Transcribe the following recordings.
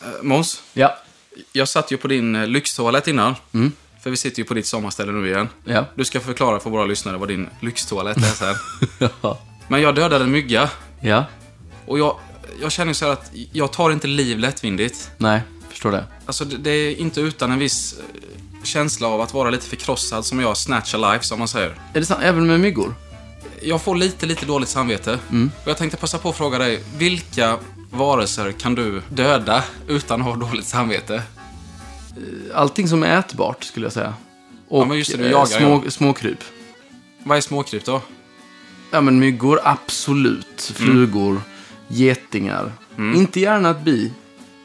Eh, Måns, Ja, jag satt ju på din eh, lyxtoalett innan. För vi sitter ju på ditt sommarställe nu igen. Ja. Du ska förklara för våra lyssnare vad din lyxtoalett är sen. Men jag dödade en mygga. ja, Och jag, jag känner ju så här att jag tar inte liv lättvindigt. nej, förstår det. Alltså det, det är inte utan en viss eh, känsla av att vara lite förkrossad som jag snatch alive som man säger. Är det sant? Även med myggor? Jag får lite, lite dåligt samvete. Och jag tänkte passa på att fråga dig, vilka varelser kan du döda utan att ha dåligt samvete? Allting som är ätbart skulle jag säga. Och Ja, men just det, du eh, jagar, små, små kryp. Vad är småkryp då? Ja, men myggor, absolut. Flugor, getingar. Inte gärna ett bi.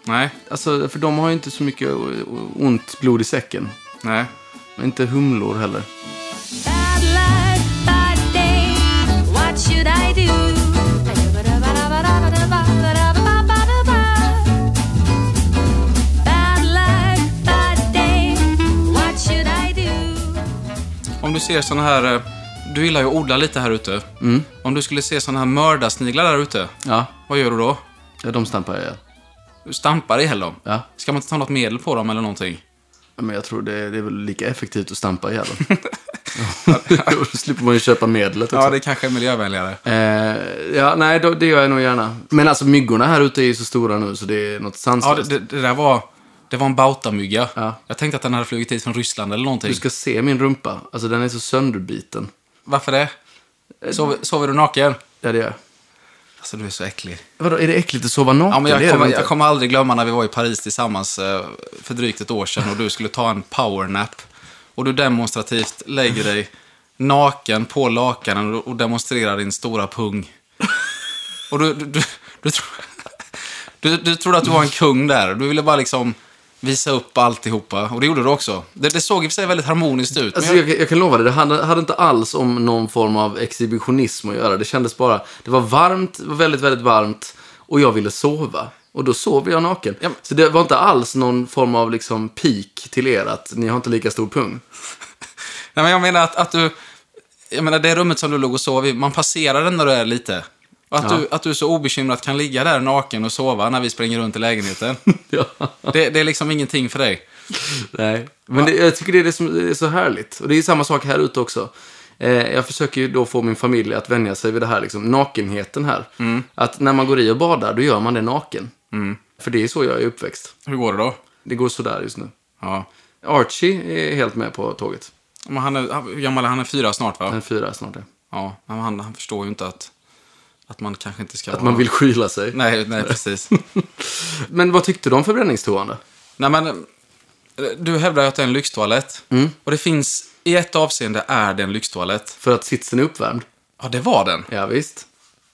Nej, Alltså, för de har ju inte så mycket eh, ont blod i säcken. nej. Men inte humlor heller. Bad luck, bad day. What should I do? Bad luck, bad day. What should I do? Om du ser såna här... eh, Du gillar ju att odla lite här ute. Om du skulle se såna här mördarsniglar där ute, Ja, vad gör du då? ja de stampar jag ihjäl. Du stampar ihjäl dem. Ja. Ska man inte ta något medel på dem eller någonting? Ja, Men jag tror det, det är väl lika effektivt att stampa ihjäl dem. Då slipper man ju köpa medlet också. Ja, det kanske är miljövänligare. Eh, ja, nej, då, det gör jag nog gärna. Men alltså myggorna här ute är ju så stora nu så det är något Ja, sanslöst. det, det, det där var... Det var en bautamygga. Ja. Jag tänkte att den hade flugit hit från Ryssland eller någonting. Du ska se min rumpa. Alltså den är så sönderbiten. Varför det? Sover, sover du naken? Ja, det gör jag. Eh, Alltså, du är så äcklig. Vadå, är det äckligt att sova naken? Ja, men Det är jag, det kommer, väl inte? jag kommer aldrig glömma när vi var i Paris tillsammans eh, för drygt ett år sedan och du skulle ta en powernap. Och du demonstrativt lägger dig naken på lakanen och- och demonstrerar din stora pung. Och du, du, du, du, tro, du, du trodde att du var en kung där. Du ville bara liksom visa upp alltihopa. Och det gjorde du också. Det, det såg i och för sig väldigt harmoniskt ut. Alltså, Men jag, jag, jag kan lova dig, det hade, hade inte alls om någon form av exhibitionism att göra. Det kändes bara, det var varmt, det var väldigt, väldigt varmt och jag ville sova. Och då sov jag naken. Ja, men- Så det var inte alls någon form av liksom pik till er att ni har inte lika stor pung. nej, men jag menar att, att du... Jag menar det rummet som du låg och sov i, man passerar den när du är lite. Och att, Ja. du, att du så obekymrat kan ligga där naken och sova när vi springer runt i lägenheten. ja. Det, det är liksom ingenting för dig. Nej. Men det, jag tycker det är, det, som, det är så härligt. Och det är samma sak här ute också. Eh, jag försöker ju då få min familj att vänja sig vid det här, liksom, nakenheten här. Att när man går i och badar, då gör man det naken. För det är så jag är uppväxt. Hur går det då? Det går sådär just nu. Ja. Archie är helt med på tåget. Men han är, han- hur gammal är han? Han är fyra snart va? Han är fyra snart. ja. Ja. Men Han, han förstår ju inte att, att man kanske inte ska Att man vill skyla sig. Nej, nej precis. Men vad tyckte du om förbränningstoan då? nej men, eh, du hävdar ju att det är en lyxtoalett. Mm. Och det finns, i ett avseende är det en lyxtoalett. För att sitsen är uppvärmd? Ja, det var den. Ja, visst.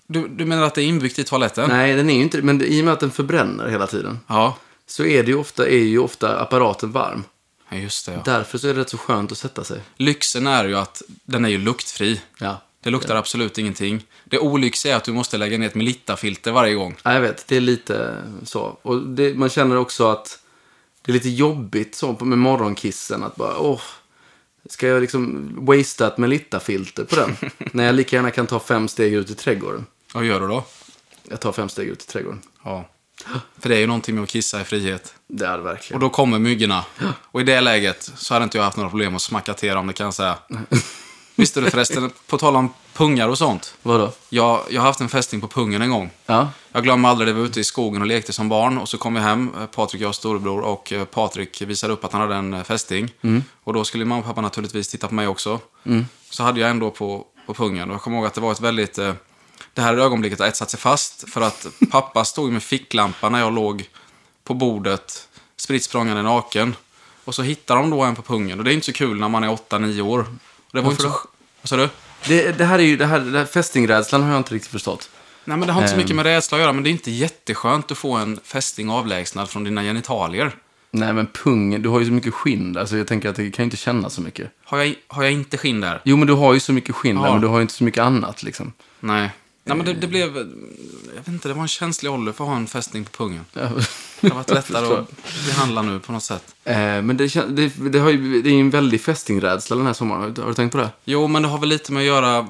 Du, du menar att det är inbyggt i toaletten? Nej, den är ju inte det. Men det- i och med att den förbränner hela tiden Ja. så är, det ju ofta, är ju ofta apparaten varm. ja, just det. Ja. Därför så är det rätt så skönt att sätta sig. Lyxen är ju att den är ju luktfri. Ja. Det luktar absolut ingenting. Det olyxiga är att du måste lägga ner ett Melitta-filter varje gång. Ja, jag vet. Det är lite så. Och det, man känner också att det är lite jobbigt så på- med morgonkissen. Att bara, åh, ska jag liksom wastea ett Melitta-filter på den? När jag lika gärna kan ta fem steg ut i trädgården. Vad gör du då? Jag tar fem steg ut i trädgården. Ja. För det är ju någonting med att kissa i frihet. Det är det Och verkligen. då kommer myggorna. Och i det läget så hade inte jag haft några problem att smacka till dem, det kan jag säga. Visste du förresten, på tal om pungar och sånt. Vadå? Jag, jag har haft en fästing på pungen en gång. Ja. Jag glömmer aldrig, det var ute i skogen och lekte som barn. Och så kom jag hem, eh, Patrik, jag och storebror, och eh, Patrik visade upp att han hade en eh, fästing. Och då skulle mamma och pappa naturligtvis titta på mig också. Så hade jag ändå på, på pungen. Och jag kommer ihåg att det var ett väldigt... eh, Det här ögonblicket har etsat sig fast. För att pappa stod med ficklampa när jag låg på bordet, spritt språngande naken. Och så hittar de då en på pungen. Och det är inte så kul när man är 8-9 år. Och det var inte så... Vad sa du? Det, det här är ju, det här, det här fästingrädslan har jag inte riktigt förstått. Nej, men det har inte så mycket med rädsla att göra, men det är inte jätteskönt att få en fästing avlägsnad från dina genitalier. Nej men pung, du har ju så mycket skinn där så jag tänker att det kan ju inte kännas så mycket. Har jag, har jag inte skinn där? Jo men du har ju så mycket skinn där Ja. men du har ju inte så mycket annat liksom. Nej. Nej, men det, det blev... Jag vet inte, det var en känslig ålder för att ha en fästing på pungen. Det har varit lättare att behandla nu på något sätt. Eh, men det, kän- det, det, har ju, det är ju en väldig fästingrädsla den här sommaren. Har du tänkt på det? Jo, men det har väl lite med att göra...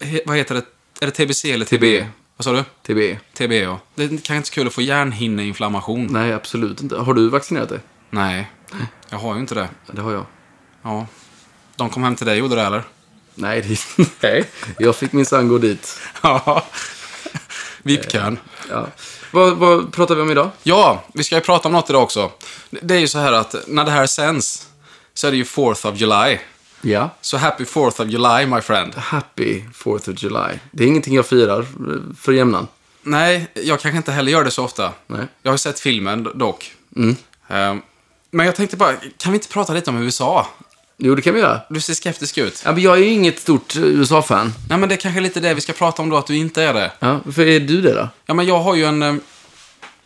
he- Vad heter det? Är det TBC eller TB? Vad sa du? TBE? TB, ja. Det är kanske inte så kul att få hjärnhinneinflammation. Nej, absolut inte. Har du vaccinerat dig? Nej, jag har ju inte det. Det har jag. Ja. De kom hem till dig och gjorde det, eller? Nej, det, nej. jag fick minsann gå dit. Ja. VIP-kön. Ja. Vad, vad pratar vi om idag? Ja, vi ska ju prata om något idag också. Det är ju så här att när det här sänds så är det ju 4th of July. Ja. Så happy 4th of July, my friend. Happy 4th of July. Det är ingenting jag firar eh, för jämnan. Nej, jag kanske inte heller gör det så ofta. Nej. Jag har ju sett filmen dock. Ehm, Men jag tänkte bara, kan vi inte prata lite om USA? Jo, det kan vi göra. Du ser skeptisk ut. Ja, men jag är ju inget stort eh, USA-fan. Nej, men det är kanske lite det vi ska prata om då, att du inte är det. Ja, för är du det då? Ja, men jag har ju en... eh,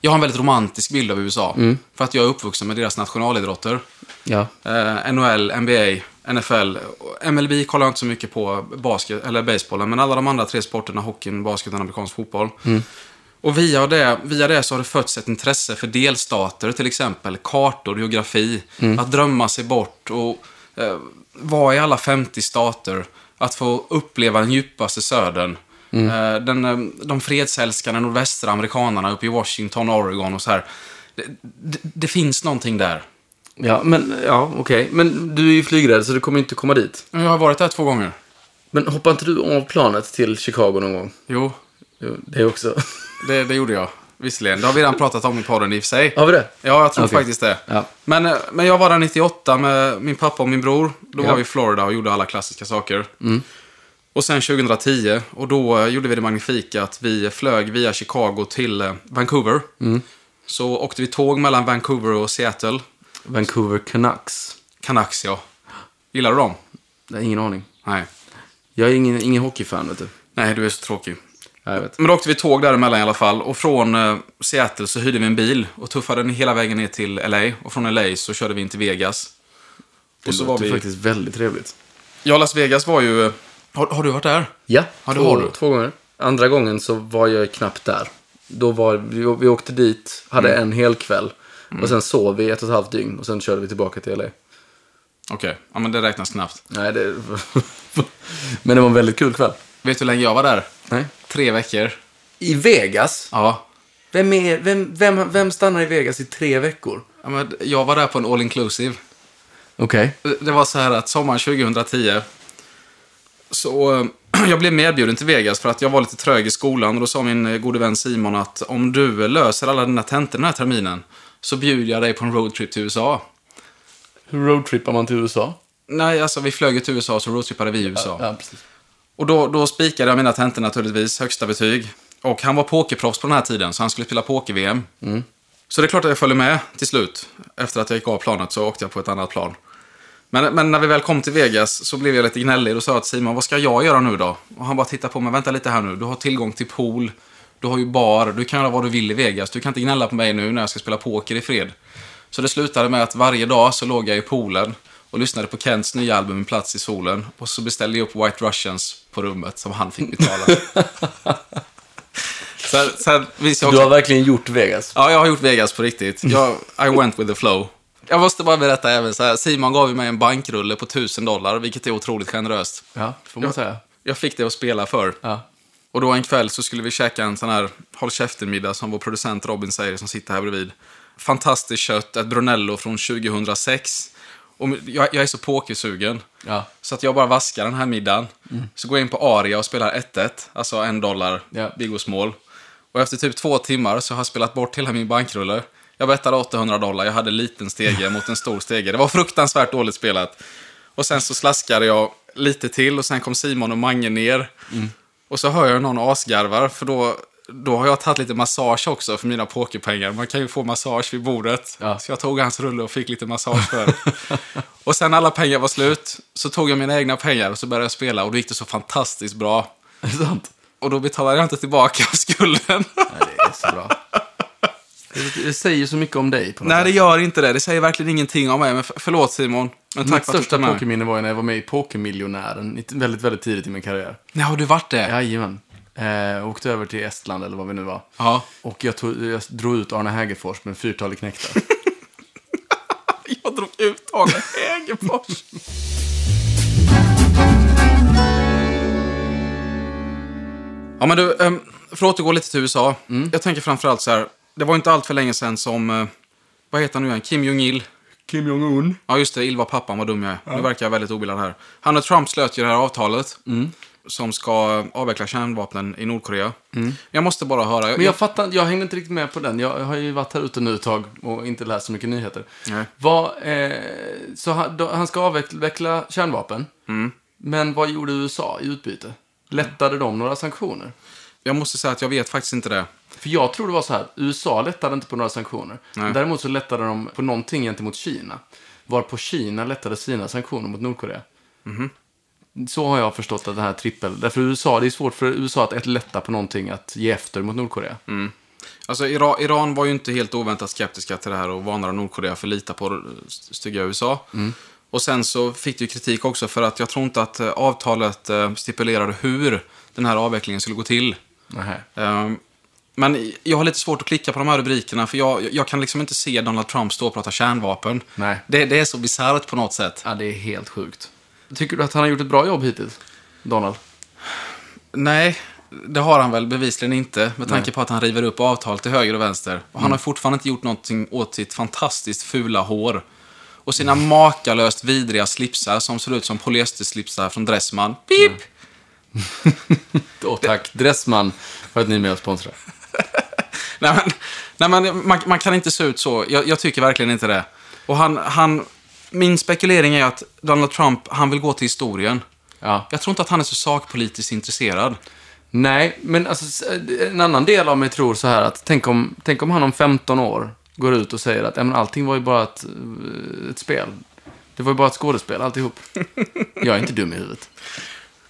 Jag har en väldigt romantisk bild av USA. För att jag är uppvuxen med deras nationalidrotter. Ja. Eh, NHL, NBA, NFL. och MLB kollar jag inte så mycket på, basket, eller basebollen, men alla de andra tre sporterna, hockeyn, basketen, amerikansk fotboll. Och via det, via det så har det fötts ett intresse för delstater, till exempel kartor, geografi, att drömma sig bort och eh, vara i alla 50 stater, att få uppleva den djupaste södern. Eh, den, eh, de fredsälskande nordvästra amerikanarna uppe i Washington, Oregon och så här. Det, det, det finns någonting där. Ja, men ja, okej. Men du är ju flygrädd så du kommer inte komma dit. Jag har varit där två gånger. Men hoppar inte du av planet till Chicago någon gång? Jo, Jo, det också. det, det gjorde jag. Visserligen. Det har vi redan pratat om i podden i och för sig. Har vi det? Ja, jag tror Okej. faktiskt det. Ja. Men, eh, men jag var där 98 med min pappa och min bror. Då Ja. Mm. var vi i Florida och gjorde alla klassiska saker. Och sen 2010, och då eh, gjorde vi det magnifika att vi flög via Chicago till eh, Vancouver. Mm. Så åkte vi tåg mellan Vancouver och Seattle. Vancouver Canucks. Canucks, ja. Gillar du dem? Jag har ingen aning. Nej. Jag är ingen, ingen hockeyfan, vet du. Nej, du är så tråkig. Ja, jag vet. Men då åkte vi tåg däremellan i alla fall. Och från eh, Seattle så hyrde vi en bil och tuffade den hela vägen ner till LA. Och från LA så körde vi in till Vegas. Det Och så var låter vi... faktiskt väldigt trevligt. Ja, Las Vegas var ju... eh, Har, har du varit där? Ja, Ja, det två, har du. två gånger. Andra gången så var jag knappt där. Då var, vi, vi åkte dit, hade en hel kväll. Och sen sov vi ett och ett halvt dygn och sen körde vi tillbaka till LA. Okej, ja, men det räknas knappt. Nej, det... Men det var en väldigt kul kväll. Vet du hur länge jag var där? Nej. Tre veckor. I Vegas? Ja. Vem, är, vem, vem, vem stannar i Vegas i tre veckor? ja men jag var där på en all inclusive. Okej. Det var så här att sommaren 2010 så eh, jag blev medbjuden till Vegas för att jag var lite trög i skolan och då sa min eh, gode vän Simon att om du löser alla dina tentor den här terminen så bjuder jag dig på en roadtrip till USA. Hur roadtrippar man till USA? Nej, alltså vi flög ju till USA så roadtrippade vi i USA. precis. Och då, då spikade jag mina tentor naturligtvis, högsta betyg. Och han var pokerproffs på den här tiden, så han skulle spela poker-VM. Så det är klart att jag följde med till slut. Efter att jag gick av planet så åkte jag på ett annat plan. Men, men när vi väl kom till Vegas så blev jag lite gnällig och sa till Simon, vad ska jag göra nu då? Och han bara tittade på mig, vänta lite här nu, du har tillgång till pool, du har ju bar, du kan göra vad du vill i Vegas, du kan inte gnälla på mig nu när jag ska spela poker i fred. Så det slutade med att varje dag så låg jag i poolen och lyssnade på Kents nya album En plats i solen och så beställde jag upp White Russians på rummet som han fick betala. sen, sen visste jag Du också har verkligen gjort Vegas. Ja, jag har gjort Vegas på riktigt. Jag, I went with the flow. Jag måste bara berätta även så här. Simon gav ju mig en bankrulle på 1000 dollar, vilket är otroligt generöst. Ja, får man säga. Jag fick det att spela för. Ja. Och då en kväll så skulle vi käka en sån här håll käften-middag som vår producent Robin säger som sitter här bredvid. Fantastiskt kött, ett Brunello från 2006. Och jag, jag är så pokersugen. Ja. Mm. Så att jag bara vaskar den här middagen. Så går jag in på Aria och spelar 1-1, alltså en dollar, Ja. Biggos mål. Och efter typ två timmar så har jag spelat bort hela min bankrulle. Jag bettade 800 dollar, jag hade en liten stege mot en stor stege. Det var fruktansvärt dåligt spelat. Och sen så slaskade jag lite till och sen kom Simon och Mange ner. Och så hör jag någon asgarvar, för då, då har jag tagit lite massage också för mina pokerpengar. Man kan ju få massage vid bordet. Ja. Så jag tog hans rulle och fick lite massage för det. Och sen när alla pengar var slut, så tog jag mina egna pengar och så började jag spela och då gick det så fantastiskt bra. Är det sant? Och då betalade jag inte tillbaka skulden. Nej, det är så bra. Det- Det säger så mycket om dig på något Nej, det gör inte det. Det säger verkligen ingenting om mig. Men för- förlåt Simon. Men tack Mitt för att du största tog med. pokerminne var ju när jag var med i Pokermiljonären i- väldigt, väldigt tidigt i min karriär. Nej, har du varit det? Ja. Jajamän. Eh, åkte över till Estland eller vad vi nu var. Ja, Och jag, tog, jag drog ut Arne Hägerfors med en fyrtalig knäckta. jag drog ut Arne Hägerfors. Ja, men du, ehm, för att återgå lite till USA. Jag tänker framförallt så här. Det var inte allt för länge sedan som, eh, vad heter han nu igen, Kim Jong-Il. Kim Jong-Un. Ja, just det. Ilva pappan, vad dum jag är. Nu verkar jag väldigt obildad här. Han och Trump slöt ju det här avtalet. Som ska avveckla kärnvapnen i Nordkorea. Jag måste bara höra. Mm. Jag, Men jag fattar jag hängde inte riktigt med på den. Jag har ju varit här ute nu ett tag och inte läst så mycket nyheter. Nej. Vad, eh, så han, då, han ska avveckla kärnvapen. Men vad gjorde USA i utbyte? Lättade de några sanktioner? jag måste säga att jag vet faktiskt inte det. För jag tror det var så här, USA lättade inte på några sanktioner. Däremot så lättade de på någonting gentemot Kina. Varpå Kina lättade sina sanktioner mot Nordkorea. Så har jag förstått att den här trippel... Därför USA, det är svårt för USA att ett lätta på någonting att ge efter mot Nordkorea. Alltså, Iran, Iran var ju inte helt oväntat skeptiska till det här och varnade Nordkorea för att lita på st- stygga USA. Och sen så fick det ju kritik också för att jag tror inte att eh, avtalet eh, stipulerade hur den här avvecklingen skulle gå till. Nähä. Ehm, Men i- jag har lite svårt att klicka på de här rubrikerna för jag, jag kan liksom inte se Donald Trump stå och prata kärnvapen. Nej. Det, det är så bisarrt på något sätt. Ja, det är helt sjukt. Tycker du att han har gjort ett bra jobb hittills, Donald? Nej, det har han väl bevisligen inte med tanke på att han river upp avtal till höger och vänster. Och han har fortfarande inte gjort någonting åt sitt fantastiskt fula hår. Och sina makalöst vidriga slipsar som ser ut som polyesterslipsar från Dressman. Pip! Och tack Dressman för att ni är med och sponsrar. Nej, men, nej, men man, man kan inte se ut så. Jag, jag tycker verkligen inte det. Och han, han, min spekulering är att Donald Trump, han vill gå till historien. Ja. Jag tror inte att han är så sakpolitiskt intresserad. Nej, men alltså, s- en annan del av mig tror så här att tänk om, tänk om han om 15 år går ut och säger att ja, men allting var ju bara ett, eh, ett spel. Det var ju bara ett skådespel, alltihop. Jag är inte dum i huvudet.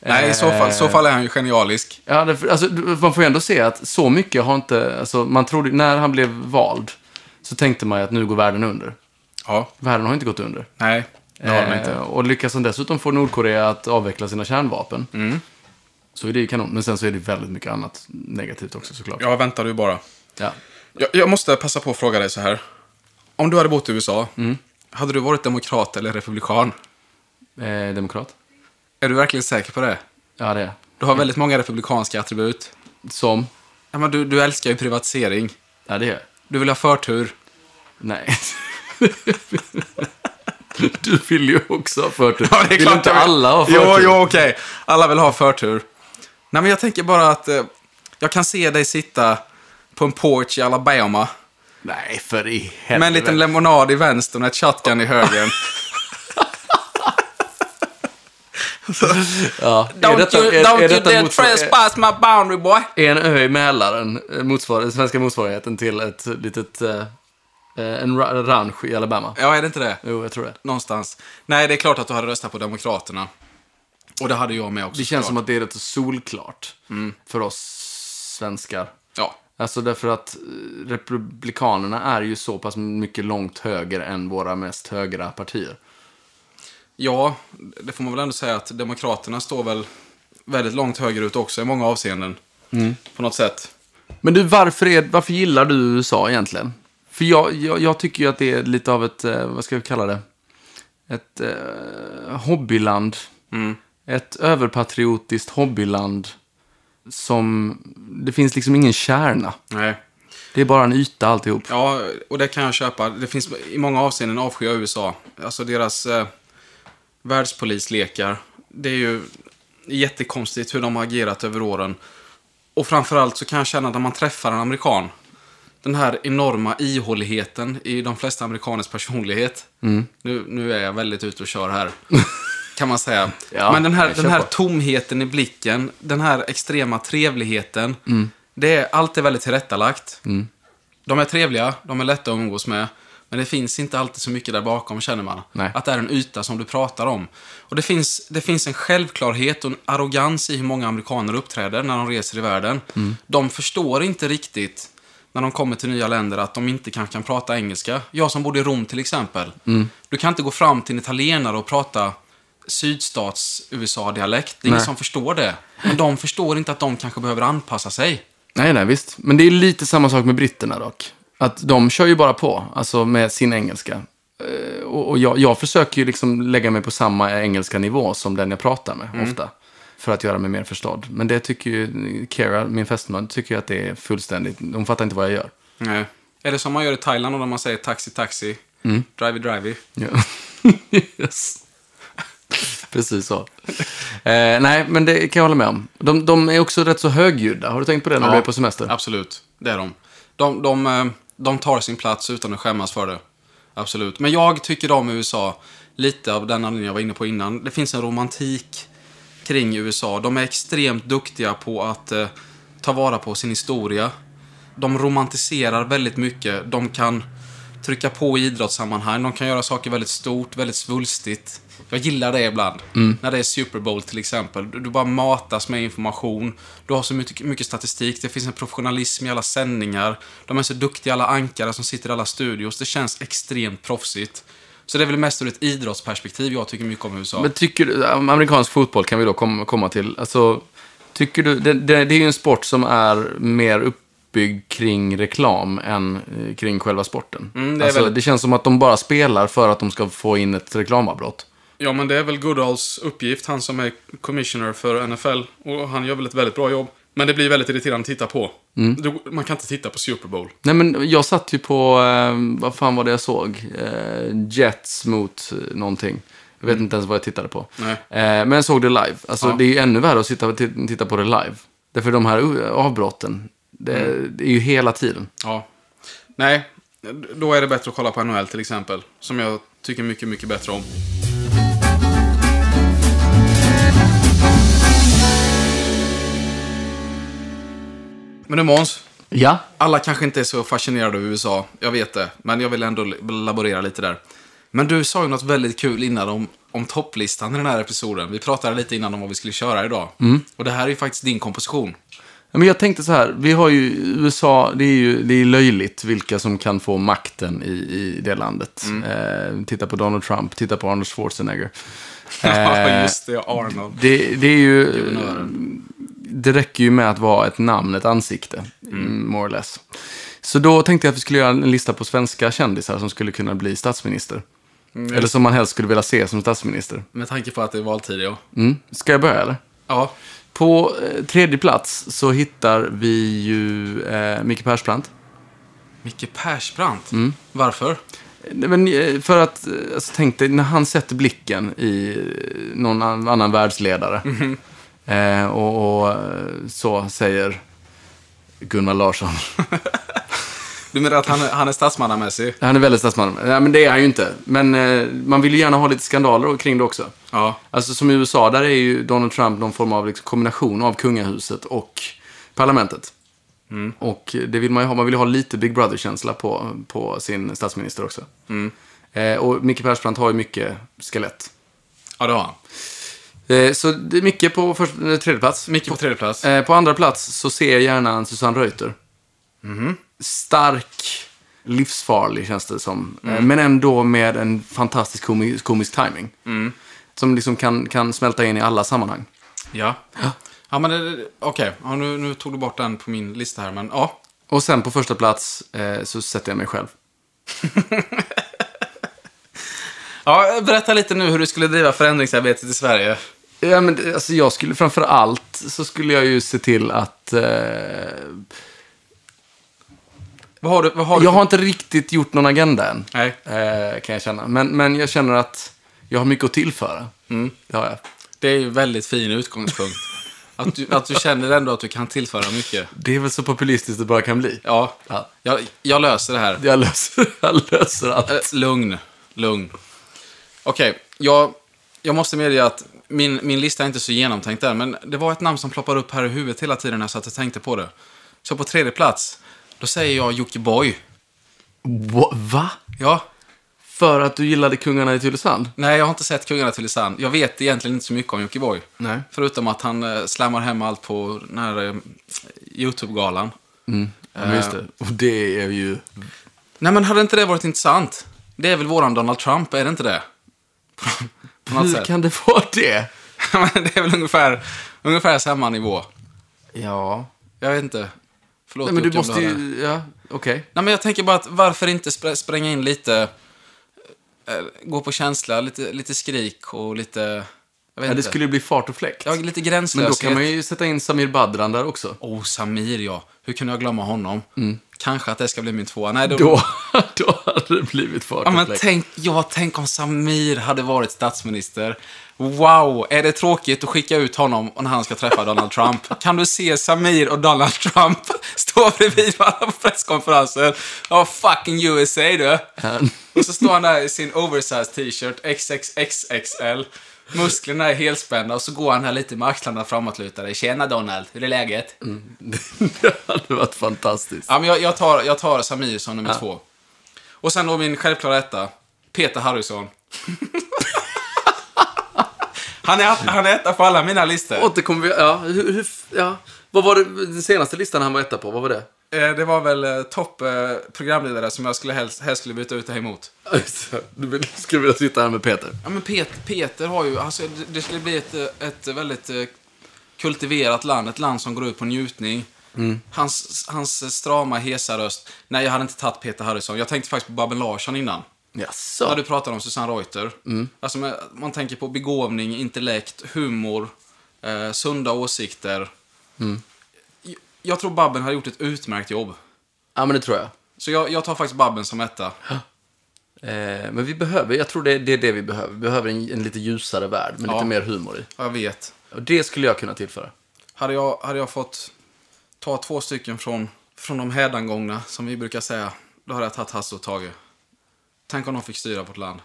Nej, i så fall, i så fall är han ju genialisk. Ja, det, alltså, du- man får ju ändå se att så mycket har inte, alltså, man trodde, när han blev vald så tänkte man ju att nu går världen under. Ja, Världen har inte gått under. nej, det har han Eh, inte. Och lyckas han dessutom få Nordkorea att avveckla sina kärnvapen. Mm. Så är det ju kanon. Men sen så är det väldigt mycket annat negativt också såklart. Jag väntar du bara. Ja. Jag, jag måste passa på att fråga dig så här. Om du hade bott i USA, hade du varit demokrat eller republikan? Eh, demokrat? Är du verkligen säker på det? Ja, det är Du har väldigt många republikanska attribut. Som? Ja, men du, du älskar ju privatisering. Ja, det är jag. Du vill ha förtur. Nej. du vill ju också ha förtur. Ja, det är vill klart inte jag vill. alla ha Jo, förtur? jo, okej. Alla vill ha förtur. Nej, men jag tänker bara att eh, jag kan se dig sitta på en porch i Alabama Nej, för i helvete. med en liten lemonad i vänstern och ett shotgun i högern. ja. don't är detta, you, är, don't är you detta dare motsvar- trespass my boundary boy. är en ö i Mälaren eh, motsvar, den svenska motsvarigheten till ett litet... Eh, eh, en ra- ranch i Alabama? Ja, är det inte det? Jo, jag tror det. Någonstans. Nej, det är klart att du hade röstat på Demokraterna. Och det hade jag med också. Det känns såklart. som att det är rätt så solklart för oss svenskar. Ja. Alltså därför att eh, Republikanerna är ju så pass mycket långt höger än våra mest högra partier. ja, det får man väl ändå säga att Demokraterna står väl väldigt långt högerut också i många avseenden. Mm. På något sätt. Men du, varför, är, varför gillar du USA egentligen? För jag, jag, jag tycker ju att det är lite av ett, eh, vad ska vi kalla det? Ett eh, hobbyland. Mm. Ett överpatriotiskt hobbyland. Som, det finns liksom ingen kärna. Nej. Det är bara en yta alltihop. Ja, och det kan jag köpa. Det finns i många avseenden avskyr jag USA. Alltså deras eh, världspolislekar. Det är ju jättekonstigt hur de har agerat över åren. Och framförallt så kan jag känna att när man träffar en amerikan, den här enorma ihåligheten i de flesta amerikaners personlighet. Mm. Nu, nu är jag väldigt ute och kör här. Kan man säga. Ja, Men den här, jag kör den här på. tomheten i blicken, den här extrema trevligheten. Mm. Det är, allt är väldigt tillrättalagt. De är trevliga, de är lätta att umgås med. Men det finns inte alltid så mycket där bakom, känner man. Nej. Att det är en yta som du pratar om. Och det finns, det finns en självklarhet och en arrogans i hur många amerikaner uppträder när de reser i världen. Mm. De förstår inte riktigt, när de kommer till nya länder, att de inte kanske kan prata engelska. Jag som bodde i Rom till exempel. Mm. Du kan inte gå fram till en italienare och prata sydstats-USA-dialekt. Det är ingen Nej. som förstår det. Men de förstår inte att de kanske behöver anpassa sig. Nej, nej, visst. Men det är lite samma sak med britterna dock. Att de kör ju bara på, alltså med sin engelska. Eh, Och, och jag, jag försöker ju liksom lägga mig på samma engelska nivå som den jag pratar med, ofta. för att göra mig mer förstådd. Men det tycker ju Kira, min fästmö, tycker ju att det är fullständigt... De fattar inte vad jag gör. Nej. Eller som man gör i Thailand när man säger taxi, taxi. Mm. Drivey, drivey. Ja. yes. Precis så. Eh, nej, men det kan jag hålla med om. De, de är också rätt så högljudda. Har du tänkt på det när du är på semester? Absolut, det är de. De, de, eh, de tar sin plats utan att skämmas för det. Absolut. Men jag tycker om USA, lite av den anledningen jag var inne på innan. Det finns en romantik kring USA. De är extremt duktiga på att eh, ta vara på sin historia. De romantiserar väldigt mycket. De kan trycka på i idrottssammanhang. De kan göra saker väldigt stort, väldigt svulstigt. Jag gillar det ibland. När det är Super Bowl till exempel. Du du bara matas med information. Du har så mycket, mycket statistik. Det finns en professionalism i alla sändningar. De är så duktiga, alla ankare som sitter i alla studios. Det känns extremt proffsigt. Så det är väl mest ur ett idrottsperspektiv jag tycker mycket om USA. Men tycker du, amerikansk fotboll kan vi då kom, komma till. Alltså, tycker du, det, det, det är ju en sport som är mer uppbyggd kring reklam än eh, kring själva sporten. Mm, det är alltså, väldigt- det känns som att de bara spelar för att de ska få in ett reklamavbrott. Ja, men det är väl Goodalls uppgift, han som är commissioner för NFL. Och han gör väl ett väldigt bra jobb. Men det blir väldigt irriterande att titta på. Du, man kan inte titta på Super Bowl. Nej, men jag satt ju på, eh, vad fan var det jag såg? Eh, Jets mot eh, någonting. Jag vet inte ens vad jag tittade på. Mm. Nej. Eh, men jag såg det live. Alltså, Ja. Det är ju ännu värre att sitta, t- titta på det live. Därför de här uh, avbrotten, det, Mm. det är ju hela tiden. Ja. Nej, då är det bättre att kolla på NHL till exempel. Som jag tycker mycket, mycket bättre om. Men du Måns, Ja. alla kanske inte är så fascinerade av USA. Jag vet det, men jag vill ändå laborera lite där. Men du sa ju något väldigt kul innan om, om topplistan i den här episoden. Vi pratade lite innan om vad vi skulle köra idag. Och det här är ju faktiskt din komposition. Ja, Men jag tänkte så här, vi har ju USA, det är ju det är löjligt vilka som kan få makten i, i det landet. Eh, titta på Donald Trump, titta på Arnold Schwarzenegger. Ja, Eh, just det, Arnold. det, det är ju... Det räcker ju med att vara ett namn, ett ansikte, mm, more or less. Så då tänkte jag att vi skulle göra en lista på svenska kändisar som skulle kunna bli statsminister. Eller som man helst skulle vilja se som statsminister. Med tanke på att det är valtid, ja. Mm. Ska jag börja eller? Ja, På eh, tredje plats så hittar vi ju eh, Micke Persbrandt. Micke Persbrandt? Varför? Nej, men eh, för att, eh, alltså, tänk dig, när han sätter blicken i eh, någon an- annan världsledare eh, och, och eh, så säger Gunnar Larsson. Du menar att han är, han är statsmannamässig? Han är väldigt statsman. Nej, men det är han ju inte. Men eh, man vill ju gärna ha lite skandaler och- kring det också. Ja. Alltså som i USA, där är ju Donald Trump någon form av liksom, kombination av kungahuset och parlamentet. Och det vill man ju ha. Man vill ju ha lite Big Brother-känsla på, på sin statsminister också. Eh, och Micke Persbrandt har ju mycket skelett. Ja, det har han. Eh, så det är Micke på först, eh, tredje plats. Micke på tredje plats. Eh, på andra plats så ser jag gärna en Susanne Reuter. Mhm. Stark, livsfarlig känns det som. Eh, Mm. Men ändå med en fantastisk komi- komisk timing. Mm. Som liksom kan, kan smälta in i alla sammanhang. Ja. Ja, men det- okej. Ja, nu, nu tog du bort den på min lista här, men ja. Och sen på första plats eh, så sätter jag mig själv. ja. Berätta lite nu hur du skulle driva förändringsarbetet i Sverige. Ja, men, det- alltså, jag skulle framför allt så skulle jag ju se till att... Eh, Vad har du? Vad har du för- jag har inte riktigt gjort någon agenda än. Nej. Eh, kan jag känna. Men, men jag känner att jag har mycket att tillföra. Mm, Det har jag. Det är ju en väldigt fin utgångspunkt. att, du, att du känner ändå att du kan tillföra mycket. Det är väl så populistiskt det bara kan bli. Ja. Ja. Jag, jag löser det här. Jag löser, jag löser allt. Eh, Lugn, lugn. Okej, jag, jag måste medge att min, min lista är inte så genomtänkt där, men det var ett namn som ploppar upp här i huvudet hela tiden när jag satt och tänkte på det. Så på tredje plats, då säger jag Jockiboi. Va? Ja, För att du gillade Kungarna i Tylösand? nej jag har inte sett Kungarna till Lisann. Jag vet egentligen inte så mycket om Jockiboi. Nej. Förutom att han eh, slammar hem allt på den här eh, YouTube-galan. Ja, just det. Och det är ju... Nej men hade inte det varit intressant? Det är väl våran Donald Trump, är det inte det? På, på något Hur sätt. kan det vara det? Men det är väl ungefär, ungefär samma nivå. Ja. Jag vet inte. Förlåt, Nej, men Jocke, du om måste har det. ju... Ja, okej. Nej, men jag tänker bara att varför inte spr- spränga in lite... eh, Gå på känsla, lite, lite skrik och lite... Jag vet Ja, det inte. skulle ju bli fart och fläkt. Ja, lite Men då gränslöshet. kan man ju sätta in Samir Badran där också. Oh, Samir ja. Hur kunde jag glömma honom? Kanske att det ska bli min tvåa. Nej, då... Mm. Då, då hade det blivit fart Ja, och men fläkt. tänk, ja, tänk om Samir hade varit statsminister. Wow, är det tråkigt att skicka ut honom när han ska träffa Donald Trump? Kan du se Samir och Donald Trump stå bredvid varandra på presskonferenser? Ja, fucking USA du. Och så står han där i sin oversized t-shirt, XXXXL. Musklerna är helspända och så går han här lite med axlarna framåtlutade. Tjena Donald, hur är läget? det hade varit fantastiskt. Ja, men jag, jag, tar, jag tar Samir som nummer två. Och sen då min självklara etta, Peter Harrison. han, är, han är etta på alla mina listor. Återkommer vi... Ja, hur, hur, ja. Vad var det, den senaste listan han var etta på? Vad var det? Eh, det var väl eh, topp eh, programledare som jag skulle helst, helst skulle byta ut det här emot. Du vill- skulle vilja sitta här med Peter. Ja, men Peter, Peter har ju, alltså, det- det skulle bli ett, eh, ett väldigt eh, kultiverat land, ett land som går ut på njutning. Hans, hans strama, hesa röst. Nej, jag hade inte tagit Peter Harrison. Jag tänkte faktiskt på Babben Larsson innan. Jaså? När du pratar om Susanne Reuter. Alltså med, man tänker på begåvning, intellekt, humor, eh, sunda åsikter. Mm. Jag, jag tror Babben har gjort ett utmärkt jobb. Ja, men det tror jag. Så jag, jag tar faktiskt Babben som etta. Eh, men vi behöver, jag tror det, det är det vi behöver. Vi behöver en, en lite ljusare värld med Ja. lite mer humor i. Jag vet. Och det skulle jag kunna tillföra. Hade jag, hade jag fått ta två stycken från, från de hädangångna, som vi brukar säga, då hade jag tagit Hasse och Tage. Tänk om de fick styra vårt land.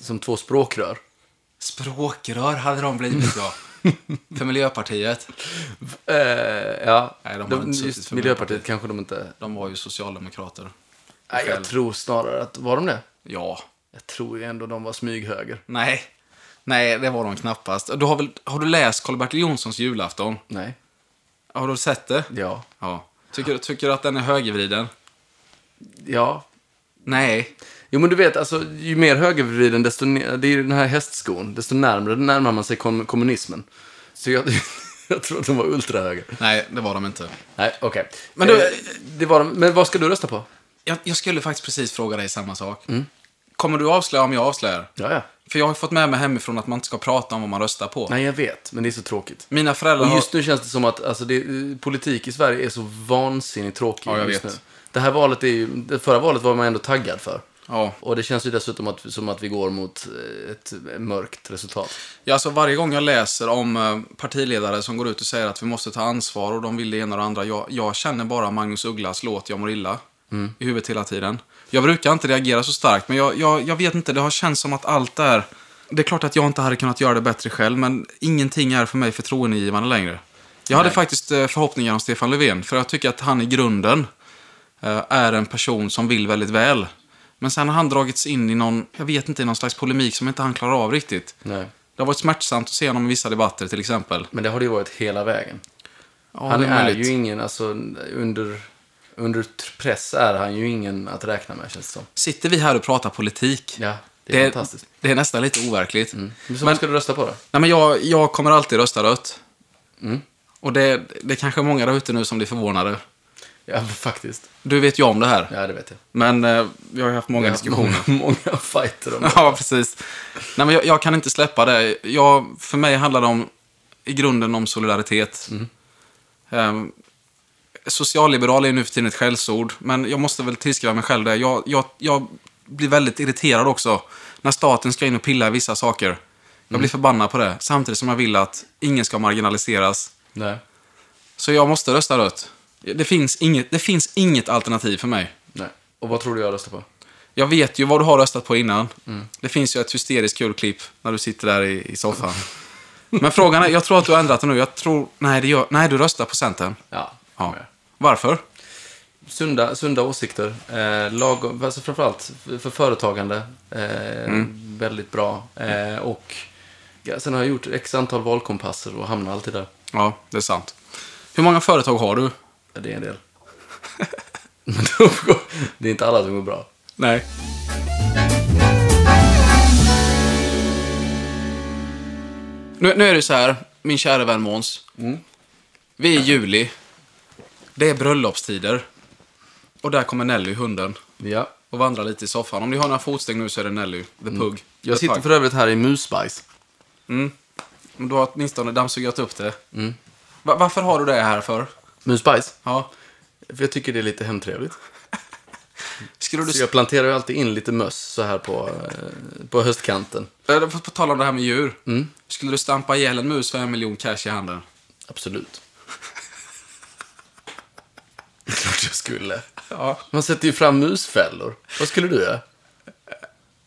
Som två språkrör. Språkrör hade de blivit, ja. För Miljöpartiet. Eh, ja, Nej, de har inte suttit just för Miljöpartiet kanske de inte... De var ju socialdemokrater. Nej, jag Själv. tror snarare att, var de det? Ja, Jag tror ju ändå de var smyghöger. Nej. Nej, det var de knappast. Du har, väl, har du läst Karl-Bertil Jonssons julafton? Nej. Har du sett det? Ja. Ja. Tycker, tycker du att den är högervriden? Ja. Nej. Jo, men du vet, alltså, ju mer högervriden, desto ne- det är ju den här hästskon, desto närmare närmar man sig kom- kommunismen. Så jag, jag tror att de var ultrahöger. Nej, det var de inte. Nej, okej. Men du- Eh, det var de, men vad ska du rösta på? Jag, jag skulle faktiskt precis fråga dig samma sak. Mm. Kommer du avslöja om jag avslöjar? Ja, ja. För jag har ju fått med mig hemifrån att man inte ska prata om vad man röstar på. Nej, jag vet, men det är så tråkigt. Mina föräldrar Och har... just nu känns det som att alltså, det, politik i Sverige är så vansinnigt tråkig Ja, jag just vet. nu. Det här valet är ju, det förra valet var man ändå taggad för. Ja. Och det känns ju dessutom att, som att vi går mot eh, ett mörkt resultat. Ja, alltså varje gång jag läser om eh, partiledare som går ut och säger att vi måste ta ansvar och de vill det ena och det andra. Jag, jag känner bara Magnus Ugglas låt Jag mår illa i huvudet hela tiden. Jag brukar inte reagera så starkt, men jag, jag, jag vet inte. Det har känts som att allt är... Det är klart att jag inte hade kunnat göra det bättre själv, men ingenting är för mig förtroendegivande längre. Jag hade faktiskt eh, förhoppningar om Stefan Löfven, för jag tycker att han i grunden eh, är en person som vill väldigt väl. Men sen har han dragits in i någon, jag vet inte, i någon slags polemik som inte han klarar av riktigt. Nej. Det har varit smärtsamt att se honom i vissa debatter till exempel. Men det har det ju varit hela vägen. Ja, han det är, möjligt. ju ingen, alltså under, under tr- press är han ju ingen att räkna med känns det som. Sitter vi här och pratar politik? Ja, det är fantastiskt. Mm. Det är nästan lite overkligt. Men så vad ska du rösta på då? Nej, men jag, jag kommer alltid rösta rött. Mm. Och det, det är kanske många där ute nu som blir förvånade. Ja, faktiskt. Du vet ju om det här. Ja, det vet jag. Men eh, vi har ju haft många Jag har haft diskussioner. många, många fighter om det. Ja, precis. Nej, men jag, jag kan inte släppa det. Jag, för mig handlar det om, i grunden om solidaritet. Ehm, socialliberal är ju nu för tiden ett skällsord, men jag måste väl tillskriva mig själv det. Jag, jag, jag blir väldigt irriterad också när staten ska in och pilla i vissa saker. Jag blir förbannad på det, samtidigt som jag vill att ingen ska marginaliseras. Nej. Så jag måste rösta rött. Det finns inget, det finns inget alternativ för mig. Nej. Och vad tror du jag röstar på? Jag vet ju vad du har röstat på innan. Det finns ju ett hysteriskt kul klipp när du sitter där i, i soffan. Men frågan är, jag tror att du har ändrat det nu. Jag tror, nej, det gör, nej du röstar på Centern. Ja. Ja. Varför? Sunda, sunda åsikter. Eh, lagom, alltså framförallt för för företagande. Eh, Väldigt bra. Eh, och ja, sen har jag gjort x antal valkompasser och hamnar alltid där. Ja, det är sant. Hur många företag har du? Ja, det är en del. Men de går- det är inte alla som går bra. Nej. Nu, nu är det så här, min kära vän Måns. Vi är i juli. Det är bröllopstider. Och där kommer Nelly, hunden. Ja. och vandra lite i soffan. Om ni har några fotsteg nu så är det Nelly, the pug. Mm. Jag The sitter pug. för övrigt här i musbajs. Mm. Men du har åtminstone dammsugat upp det. Mm. Va- varför har du det här för? Muspajs? Ja. För jag tycker det är lite hemtrevligt. Skulle du... Så jag planterar ju alltid in lite möss så här på, eh, på höstkanten. Eh, På, på tal om det här med djur. Mm. Skulle du stampa ihjäl en mus för en miljon cash i handen? Absolut. Det är klart jag skulle. Ja. Man sätter ju fram musfällor. Vad skulle du göra?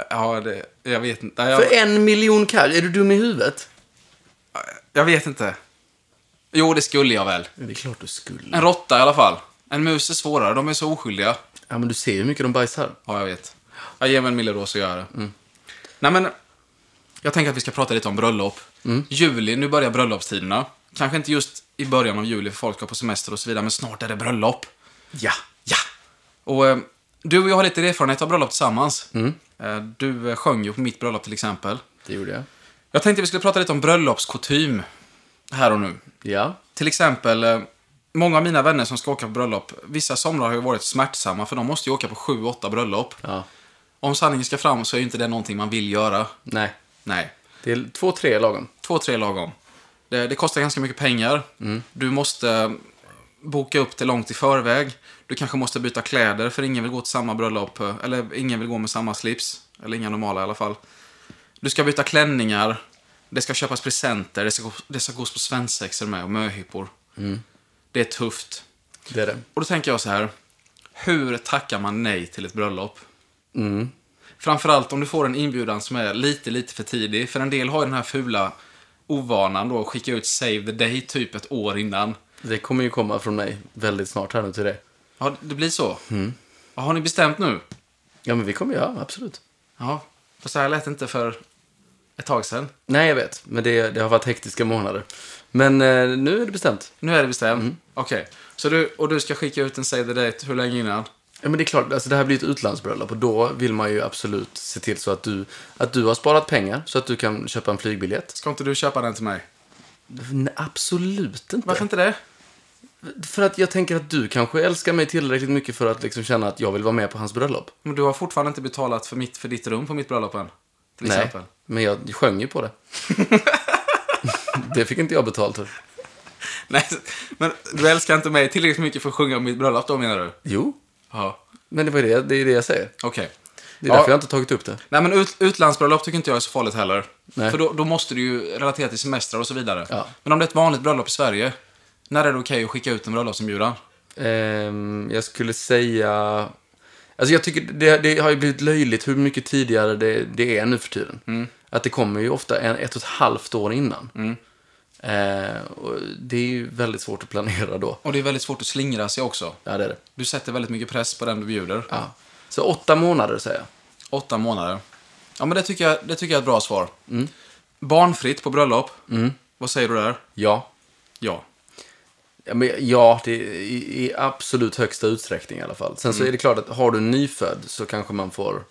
Ja, det, jag vet inte. Nej, Jag, För en miljon kall? Är du dum i huvudet? jag vet inte. Jo, det skulle jag väl. Det är klart du skulle. En råtta i alla fall. En mus är svårare, de är så oskyldiga. Ja, men du ser ju hur mycket de bajsar. Ja, jag vet. Jag ger mig en mille då så gör jag det. Nej, men jag tänker att vi ska prata lite om bröllop. Juli, nu börjar bröllopstiderna. Kanske inte just i början av juli för folk ska på semester och så vidare, men snart är det bröllop. Ja. Ja! Och eh, du och jag har lite erfarenhet av bröllop tillsammans. Eh, Du eh, sjöng ju på mitt bröllop till exempel. Det gjorde jag. Jag tänkte vi skulle prata lite om bröllopskutym här och nu. Ja. Till exempel, eh, många av mina vänner som ska åka på bröllop, vissa somrar har ju varit smärtsamma för de måste ju åka på sju, åtta bröllop. Ja. Om sanningen ska fram så är ju inte det någonting man vill göra. Nej. Nej. Det är två, tre lagom. Två, tre lagom. Det, det kostar ganska mycket pengar. Du måste eh, boka upp det långt i förväg. Du kanske måste byta kläder för ingen vill gå till samma bröllop. eh, Eller ingen vill gå med samma slips. Eller inga normala i alla fall. Du ska byta klänningar. Det ska köpas presenter. Det ska, gå- det ska gås på svensexor med och möhippor. Det är tufft. Det är det. Och då tänker jag så här. Hur tackar man nej till ett bröllop? Framförallt om du får en inbjudan som är lite, lite för tidig. För en del har ju den här fula ovanan då att skicka ut save the day typ ett år innan. Det kommer ju komma från mig väldigt snart här nu till dig. Ja, det blir så. Ja, har ni bestämt nu? Ja, men vi kommer göra, absolut. Ja, för så här lät det inte för ett tag sedan. Nej, jag vet. Men det, det har varit hektiska månader. Men eh, nu är det bestämt. Nu är det bestämt. Okej, så du, och du ska skicka ut en save the date hur länge innan? Ja, men det är klart, alltså det här blir ett utlandsbröllop och då vill man ju absolut se till så att du, att du har sparat pengar så att du kan köpa en flygbiljett. Ska inte du köpa den till mig? Nej, absolut inte. Varför inte det? För att jag tänker att du kanske älskar mig tillräckligt mycket för att liksom känna att jag vill vara med på hans bröllop. Men du har fortfarande inte betalat för, mitt, för ditt rum på mitt bröllop än. Till exempel. Nej, men jag sjöng ju på det. det fick inte jag betalt för. Nej, men du älskar inte mig tillräckligt mycket för att sjunga om mitt bröllop då menar du? Jo, Ja. men det, var ju det, det är det jag säger. Okej. Det är Ja. därför jag inte tagit upp det. Nej men ut, utlandsbröllop tycker inte jag är så farligt heller. Nej. För då, då måste du ju relatera till semestrar och så vidare. Ja. Men om det är ett vanligt bröllop i Sverige, när är det okej att skicka ut en bröllopsinbjudan? Ehm, jag skulle säga... Alltså jag tycker det, det har ju blivit löjligt hur mycket tidigare det, det är nu för tiden. Att det kommer ju ofta en, ett och ett halvt år innan. Ehm, och det är ju väldigt svårt att planera då. Och det är väldigt svårt att slingra sig också. Ja, det är det. Du sätter väldigt mycket press på den du bjuder. Ja. Så åtta månader säger jag. Åtta månader. Ja men det tycker jag, det tycker jag är ett bra svar. Mm. Barnfritt på bröllop. Vad säger du där? Ja. Ja. Ja, men, ja det, i, i absolut högsta utsträckning i alla fall. Sen så är det klart att har du en nyfödd så kanske man får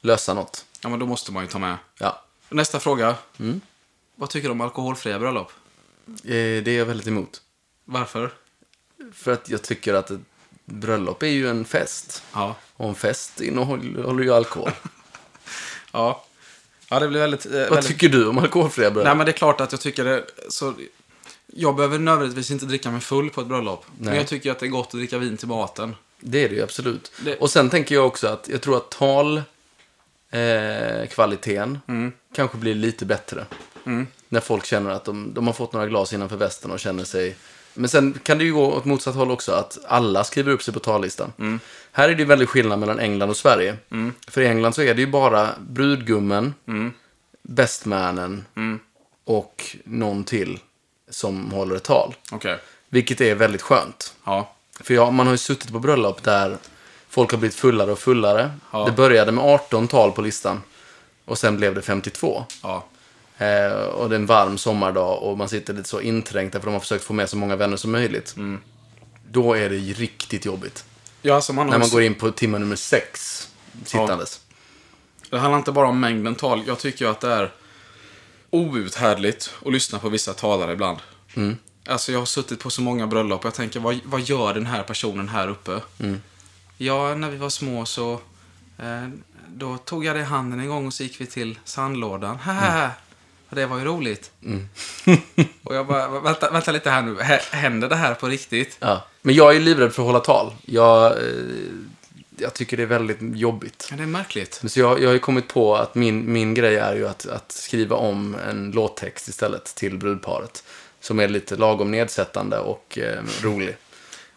lösa något. Ja men då måste man ju ta med. Ja. Nästa fråga. Mm. Vad tycker du om alkoholfria bröllop? Eh, det är jag väldigt emot. Varför? För att jag tycker att ett bröllop är ju en fest. Ja. Och en fest innehåller ju alkohol. Ja. Ja, det blir väldigt... Eh, Vad väldigt... tycker du om alkoholfria bröllop? Nej, men det är klart att jag tycker det. Så... Jag behöver nödvändigtvis inte dricka mig full på ett bröllop. Men Nej. jag tycker att det är gott att dricka vin till maten. Det är det ju absolut. Det- Och sen tänker jag också att jag tror att tal, eh, kvaliteten, kanske blir lite bättre. När folk känner att de, de har fått några glas innanför västen och känner sig... Men sen kan det ju gå åt motsatt håll också, att alla skriver upp sig på tallistan. Här är det ju väldigt skillnad mellan England och Sverige. För i England så är det ju bara brudgummen, bestmannen och någon till som håller ett tal. Okej. Vilket är väldigt skönt. Ja. För ja, man har ju suttit på bröllop där folk har blivit fullare och fullare. Ja. Det började med 18 tal på listan och sen blev det 52. Ja. Eh, och det är en varm sommardag och man sitter lite så inträngt därför de har försökt få med så många vänner som möjligt. Mm. Då är det ju riktigt jobbigt. Ja, alltså man har När man ju- går in på timme nummer sex sittandes. Det handlar inte bara om mängden tal. Jag tycker ju att det är outhärdligt att lyssna på vissa talare ibland. Alltså jag har suttit på så många bröllop och jag tänker, vad, vad gör den här personen här uppe? Ja, när vi var små så eh, då tog jag dig i handen en gång och så gick vi till sandlådan. Haha! Det var ju roligt. och jag bara, vänta, vänta lite här nu. Hä- Händer det här på riktigt? Ja. Men jag är livrädd för att hålla tal. Jag, eh, jag tycker det är väldigt jobbigt. Ja, det är märkligt. Men Så jag, jag har ju kommit på att min, min grej är ju att, att skriva om en låttext istället till brudparet. Som är lite lagom nedsättande och eh, rolig.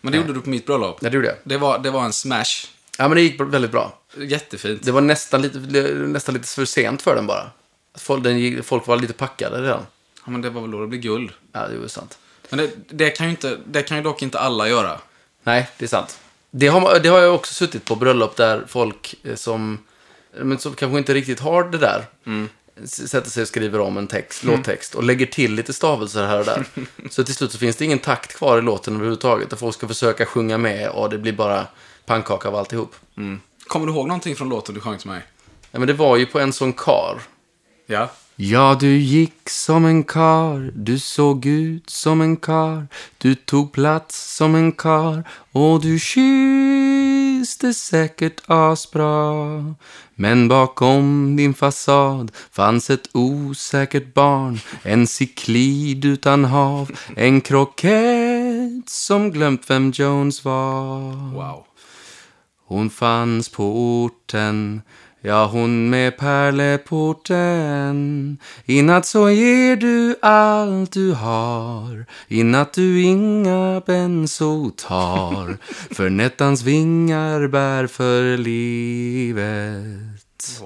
Men det gjorde du på mitt bröllop. Ja, det gjorde jag. Det var, det var en smash. Ja, men det gick väldigt bra. Jättefint. Det var nästan lite, nästan lite för sent för den bara. Att Folk, den, gick- folk var lite packade redan. Ja, men det var väl då det blev guld. Ja, det är ju sant. Men det, det, kan ju inte, det kan ju dock inte alla göra. Nej, det är sant. Det har, man- det har jag också suttit på bröllop där folk eh, som, eh, men som kanske inte riktigt har det där. s- Sätter sig och skriver om en text, låttext och lägger till lite stavelser här och där. så till slut så finns det ingen takt kvar i låten överhuvudtaget. Där folk ska försöka sjunga med och det blir bara pannkaka av alltihop. Mm. Kommer du ihåg någonting från låten du sjöng till mig? Ja, men det var ju på en sån kar. Ja. Ja, du gick som en kar, du såg ut som en kar, du tog plats som en kar och du kysste säkert asbra. Men bakom din fasad fanns ett osäkert barn, en cyklid utan hav, en krokett som glömt vem Jones var. Wow. Hon fanns på orten, ja hon med pärleporten. Inatt så ger du allt du har, inatt du inga benso tar. För nättans vingar bär för livet.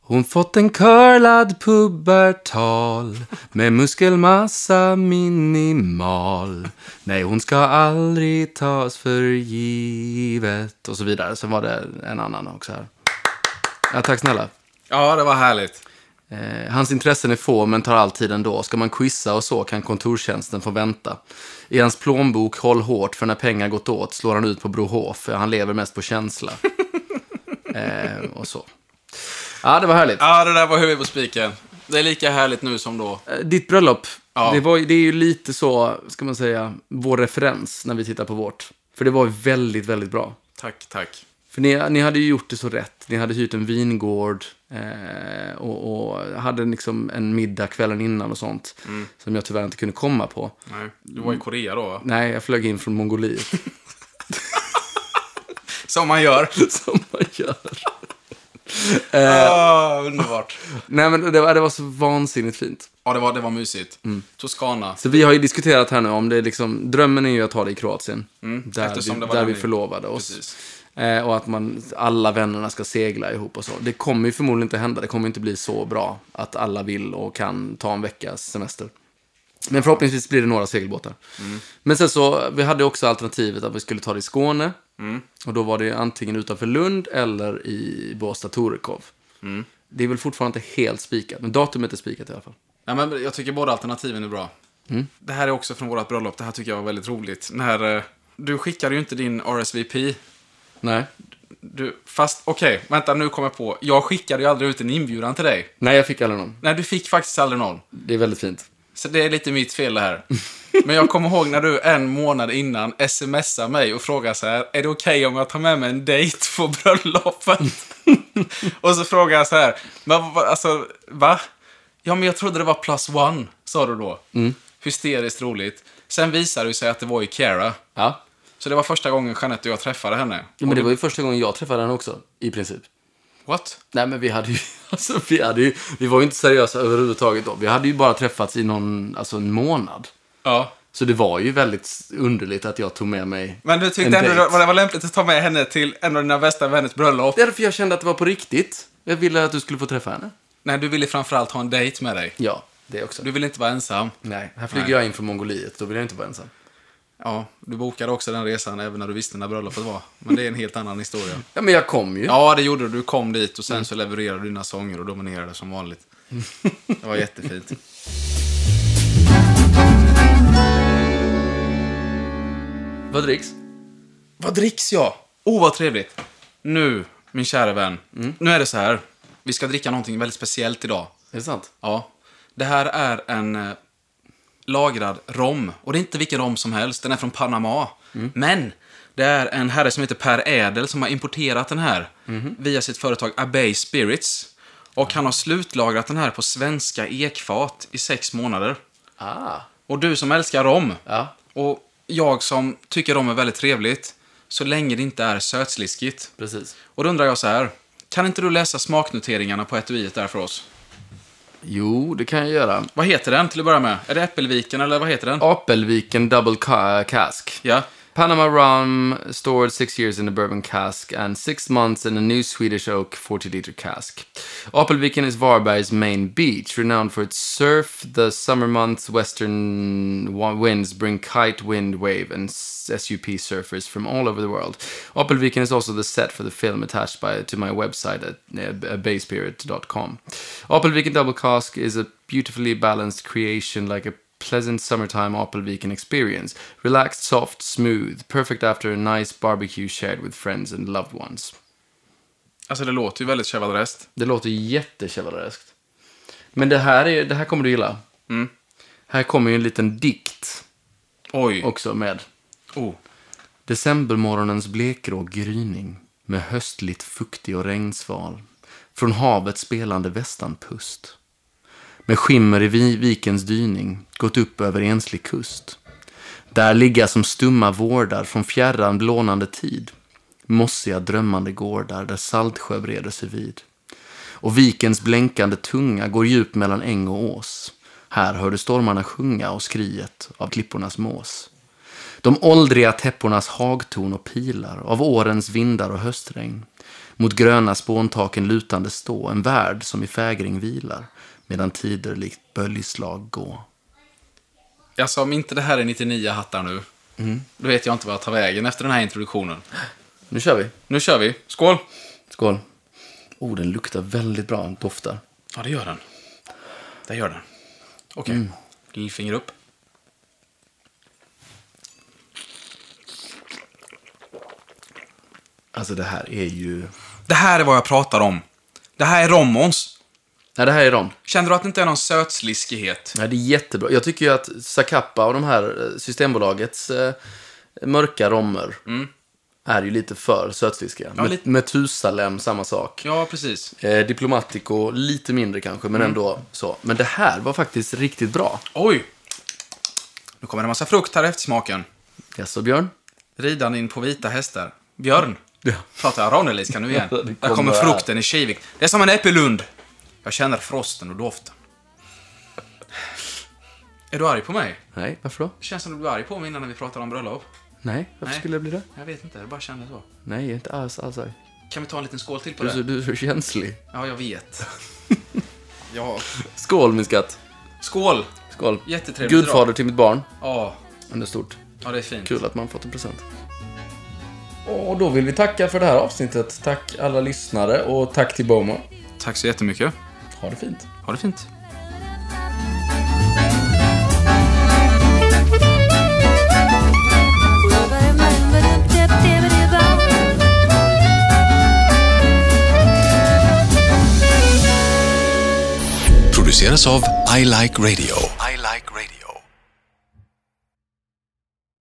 Hon fått en curlad pubertal med muskelmassa minimal. Nej, hon ska aldrig tas för givet. Och så vidare. Sen var det en annan också här. Ja, tack snälla. Ja, det var härligt. Eh, hans intressen är få men tar all tid ändå. Ska man quizza och så kan kontorstjänsten få vänta. I hans plånbok håll hårt för när pengar gått åt slår han ut på Brohof för han lever mest på känsla. eh, och så. Ja, det var härligt. Ja, det där var huvudet på spiken. Det är lika härligt nu som då. Eh, Ditt bröllop, Ja. det, var, ju- det är ju lite så, ska man säga, vår referens när vi tittar på vårt. För det var ju väldigt, väldigt bra. Tack, tack. För ni, ni hade ju gjort det så rätt. Ni hade hyrt en vingård eh, och, och hade liksom en middag kvällen innan och sånt. Som jag tyvärr inte kunde komma på. Nej, du var i Korea då, va? Nej, jag flög in från Mongoliet. Som man gör. som man gör. Ah, underbart. Nej, men det var, det var så vansinnigt fint. Ja, det var, det var mysigt. Toscana. Så vi har ju diskuterat här nu om det är liksom, drömmen är ju att ha det i Kroatien. där Mm, eftersom vi, det var där där vi ni- förlovade oss. Precis. Eh, och att man, alla vännerna ska segla ihop och så. Det kommer ju förmodligen inte hända. Det kommer inte bli så bra att alla vill och kan ta en veckas semester. Men förhoppningsvis blir det några segelbåtar. Mm. Men sen så, vi hade också alternativet att vi skulle ta det i Skåne. Mm. Och då var det ju antingen utanför Lund eller i Båstad-Torekov. Mm. Det är väl fortfarande inte helt spikat, men datumet är spikat i alla fall. Nej, men jag tycker båda alternativen är bra. Det här är också från vårt bröllop. Det här tycker jag var väldigt roligt. När, eh, du skickade ju inte din RSVP. Nej. Du, fast okej, vänta nu kommer jag på. Jag skickade ju aldrig ut en inbjudan till dig. Nej, jag fick aldrig någon. Nej, du fick faktiskt aldrig någon. Det är väldigt fint. Så det är lite mitt fel det här. Men jag kommer ihåg när du en månad innan smsar mig och frågar så här, är det okej om jag tar med mig en dejt på bröllopet? och så frågar jag så här, men vad- vad- alltså, va? Ja, men jag trodde det var plus one, sa du då. Mm. Hysteriskt roligt. Sen visade det sig att det var ju Cara. Ja. Så det var första gången Jeanette och jag träffade henne. ja men det var ju första gången jag träffade henne också, i princip. What? Nej men vi hade ju, alltså vi hade ju, vi var ju inte seriösa överhuvudtaget då. Vi hade ju bara träffats i någon, alltså en månad. Ja. Så det var ju väldigt underligt att jag tog med mig Men du tyckte en ändå dejt. det var- det var lämpligt att ta med henne till en av dina bästa vänners bröllop. Det är därför jag kände att det var på riktigt. Jag ville att du skulle få träffa henne. Nej, du ville framförallt ha en dejt med dig. Ja, det också. Du ville inte vara ensam. Nej, här flyger Nej. jag in från Mongoliet, då vill jag inte vara ensam. Ja, du bokade också den resan även när du visste när bröllopet var. Men det är en helt annan historia. Ja men jag kom ju. Ja, det gjorde du. Du kom dit och sen så levererade du dina sånger och dominerade som vanligt. Det var jättefint. Vad dricks? Vad dricks jag? Oh, vad trevligt. Nu, min kära vän. Nu är det så här. Vi ska dricka någonting väldigt speciellt idag. Är det sant? Ja. Det här är en eh, lagrad rom. Och det är inte vilken rom som helst. Den är från Panama. Men det är en herre som heter Per Ädel som har importerat den här via sitt företag Abbey Spirits. Och han har slutlagrat den här på svenska ekfat i sex månader. Ah. Och du som älskar rom, Ja, och jag som tycker rom är väldigt trevligt, så länge det inte är sötsliskigt. precis. Och då undrar jag så här, kan inte du läsa smaknoteringarna på etuiet där för oss? Jo, det kan jag göra. Vad heter den till att börja med? Är det Äppelviken eller vad heter den? Apelviken Double Ca- Cask. Ja. Panama rum stored six years in a bourbon cask and six months in a new Swedish oak 40 liter cask. Apelviken is Varberg's main beach, renowned for its surf. The summer months, western wa- winds bring kite, wind, wave, and s- SUP surfers from all over the world. Apelviken is also the set for the film attached by, to my website at uh, bayspirit.com. Apelviken Double Cask is a beautifully balanced creation like a pleasant summertime Apelviken experience. Relaxed, soft, smooth, perfect after a nice barbecue shared with friends and loved ones. Alltså det låter ju väldigt chevalereskt. Det låter jättechevalereskt. Men det här, är, det här kommer du gilla. Mm. Här kommer ju en liten dikt Oj. också med. Oh. Decembermorgonens blekgrå gryning med höstligt fuktig och regnsval. Från havet spelande västanpust. Med skimmer i vi- vikens dyning gått upp över enslig kust. Där ligga som stumma vårdar från fjärran blånande tid. Mossiga drömmande gårdar där Saltsjö breder sig vid. Och vikens blänkande tunga går djup mellan äng och ås. Här hör du stormarna sjunga och skriet av klippornas mås. De åldriga täppornas hagtorn och pilar av årens vindar och höstregn. Mot gröna spåntaken lutande stå en värld som i fägring vilar medan tider likt böljslag gå. Alltså om inte det här är 99 hattar nu, då vet jag inte vad jag tar vägen efter den här introduktionen. Nu kör vi. Nu kör vi. Skål! Skål. Oh, den luktar väldigt bra. Den doftar. Ja, det gör den. Det gör den. Mm. Okej. Lillfinger upp. Alltså det här är ju... Det här är vad jag pratar om. Det här är rommons. Nej, det här är rom. Känner du att det inte är någon sötsliskighet? Nej, det är jättebra. Jag tycker ju att Zacapa och de här eh, Systembolagets eh, mörka rommer är ju lite för sötsliskiga. Ja, lite. Metusalem, samma sak. Ja, precis. Eh, Diplomatico, lite mindre kanske, men ändå så. Men det här var faktiskt riktigt bra. Oj! Nu kommer det en massa frukt här efter smaken. Jaså, Björn? Ridan in på vita hästar. Björn. Pratar jag raneliska nu igen? Ja, det Där kommer kommer här. frukten i kivik. Det är som en äppellund. Jag känner frosten och doften. Är du arg på mig? Nej, varför då? Det känns som du blev arg på mig innan när vi pratade om bröllop. Nej, varför Nej. skulle jag bli det? Jag vet inte, jag bara kände så. Nej, jag är inte alls alls arg. Kan vi ta en liten skål till på Du, är så- det? du är så känslig. Ja, jag vet. ja. Skål, min skatt. Skål! Skål. Jättetrevligt Gudfader till mitt barn. Ja, Men det är stort. ja, det är fint. Kul att man fått en present. Och då vill vi tacka för det här avsnittet. Tack alla lyssnare och tack till Boma. Tack så jättemycket. Ha det fint. Ha det fint. produceras av I Like Radio.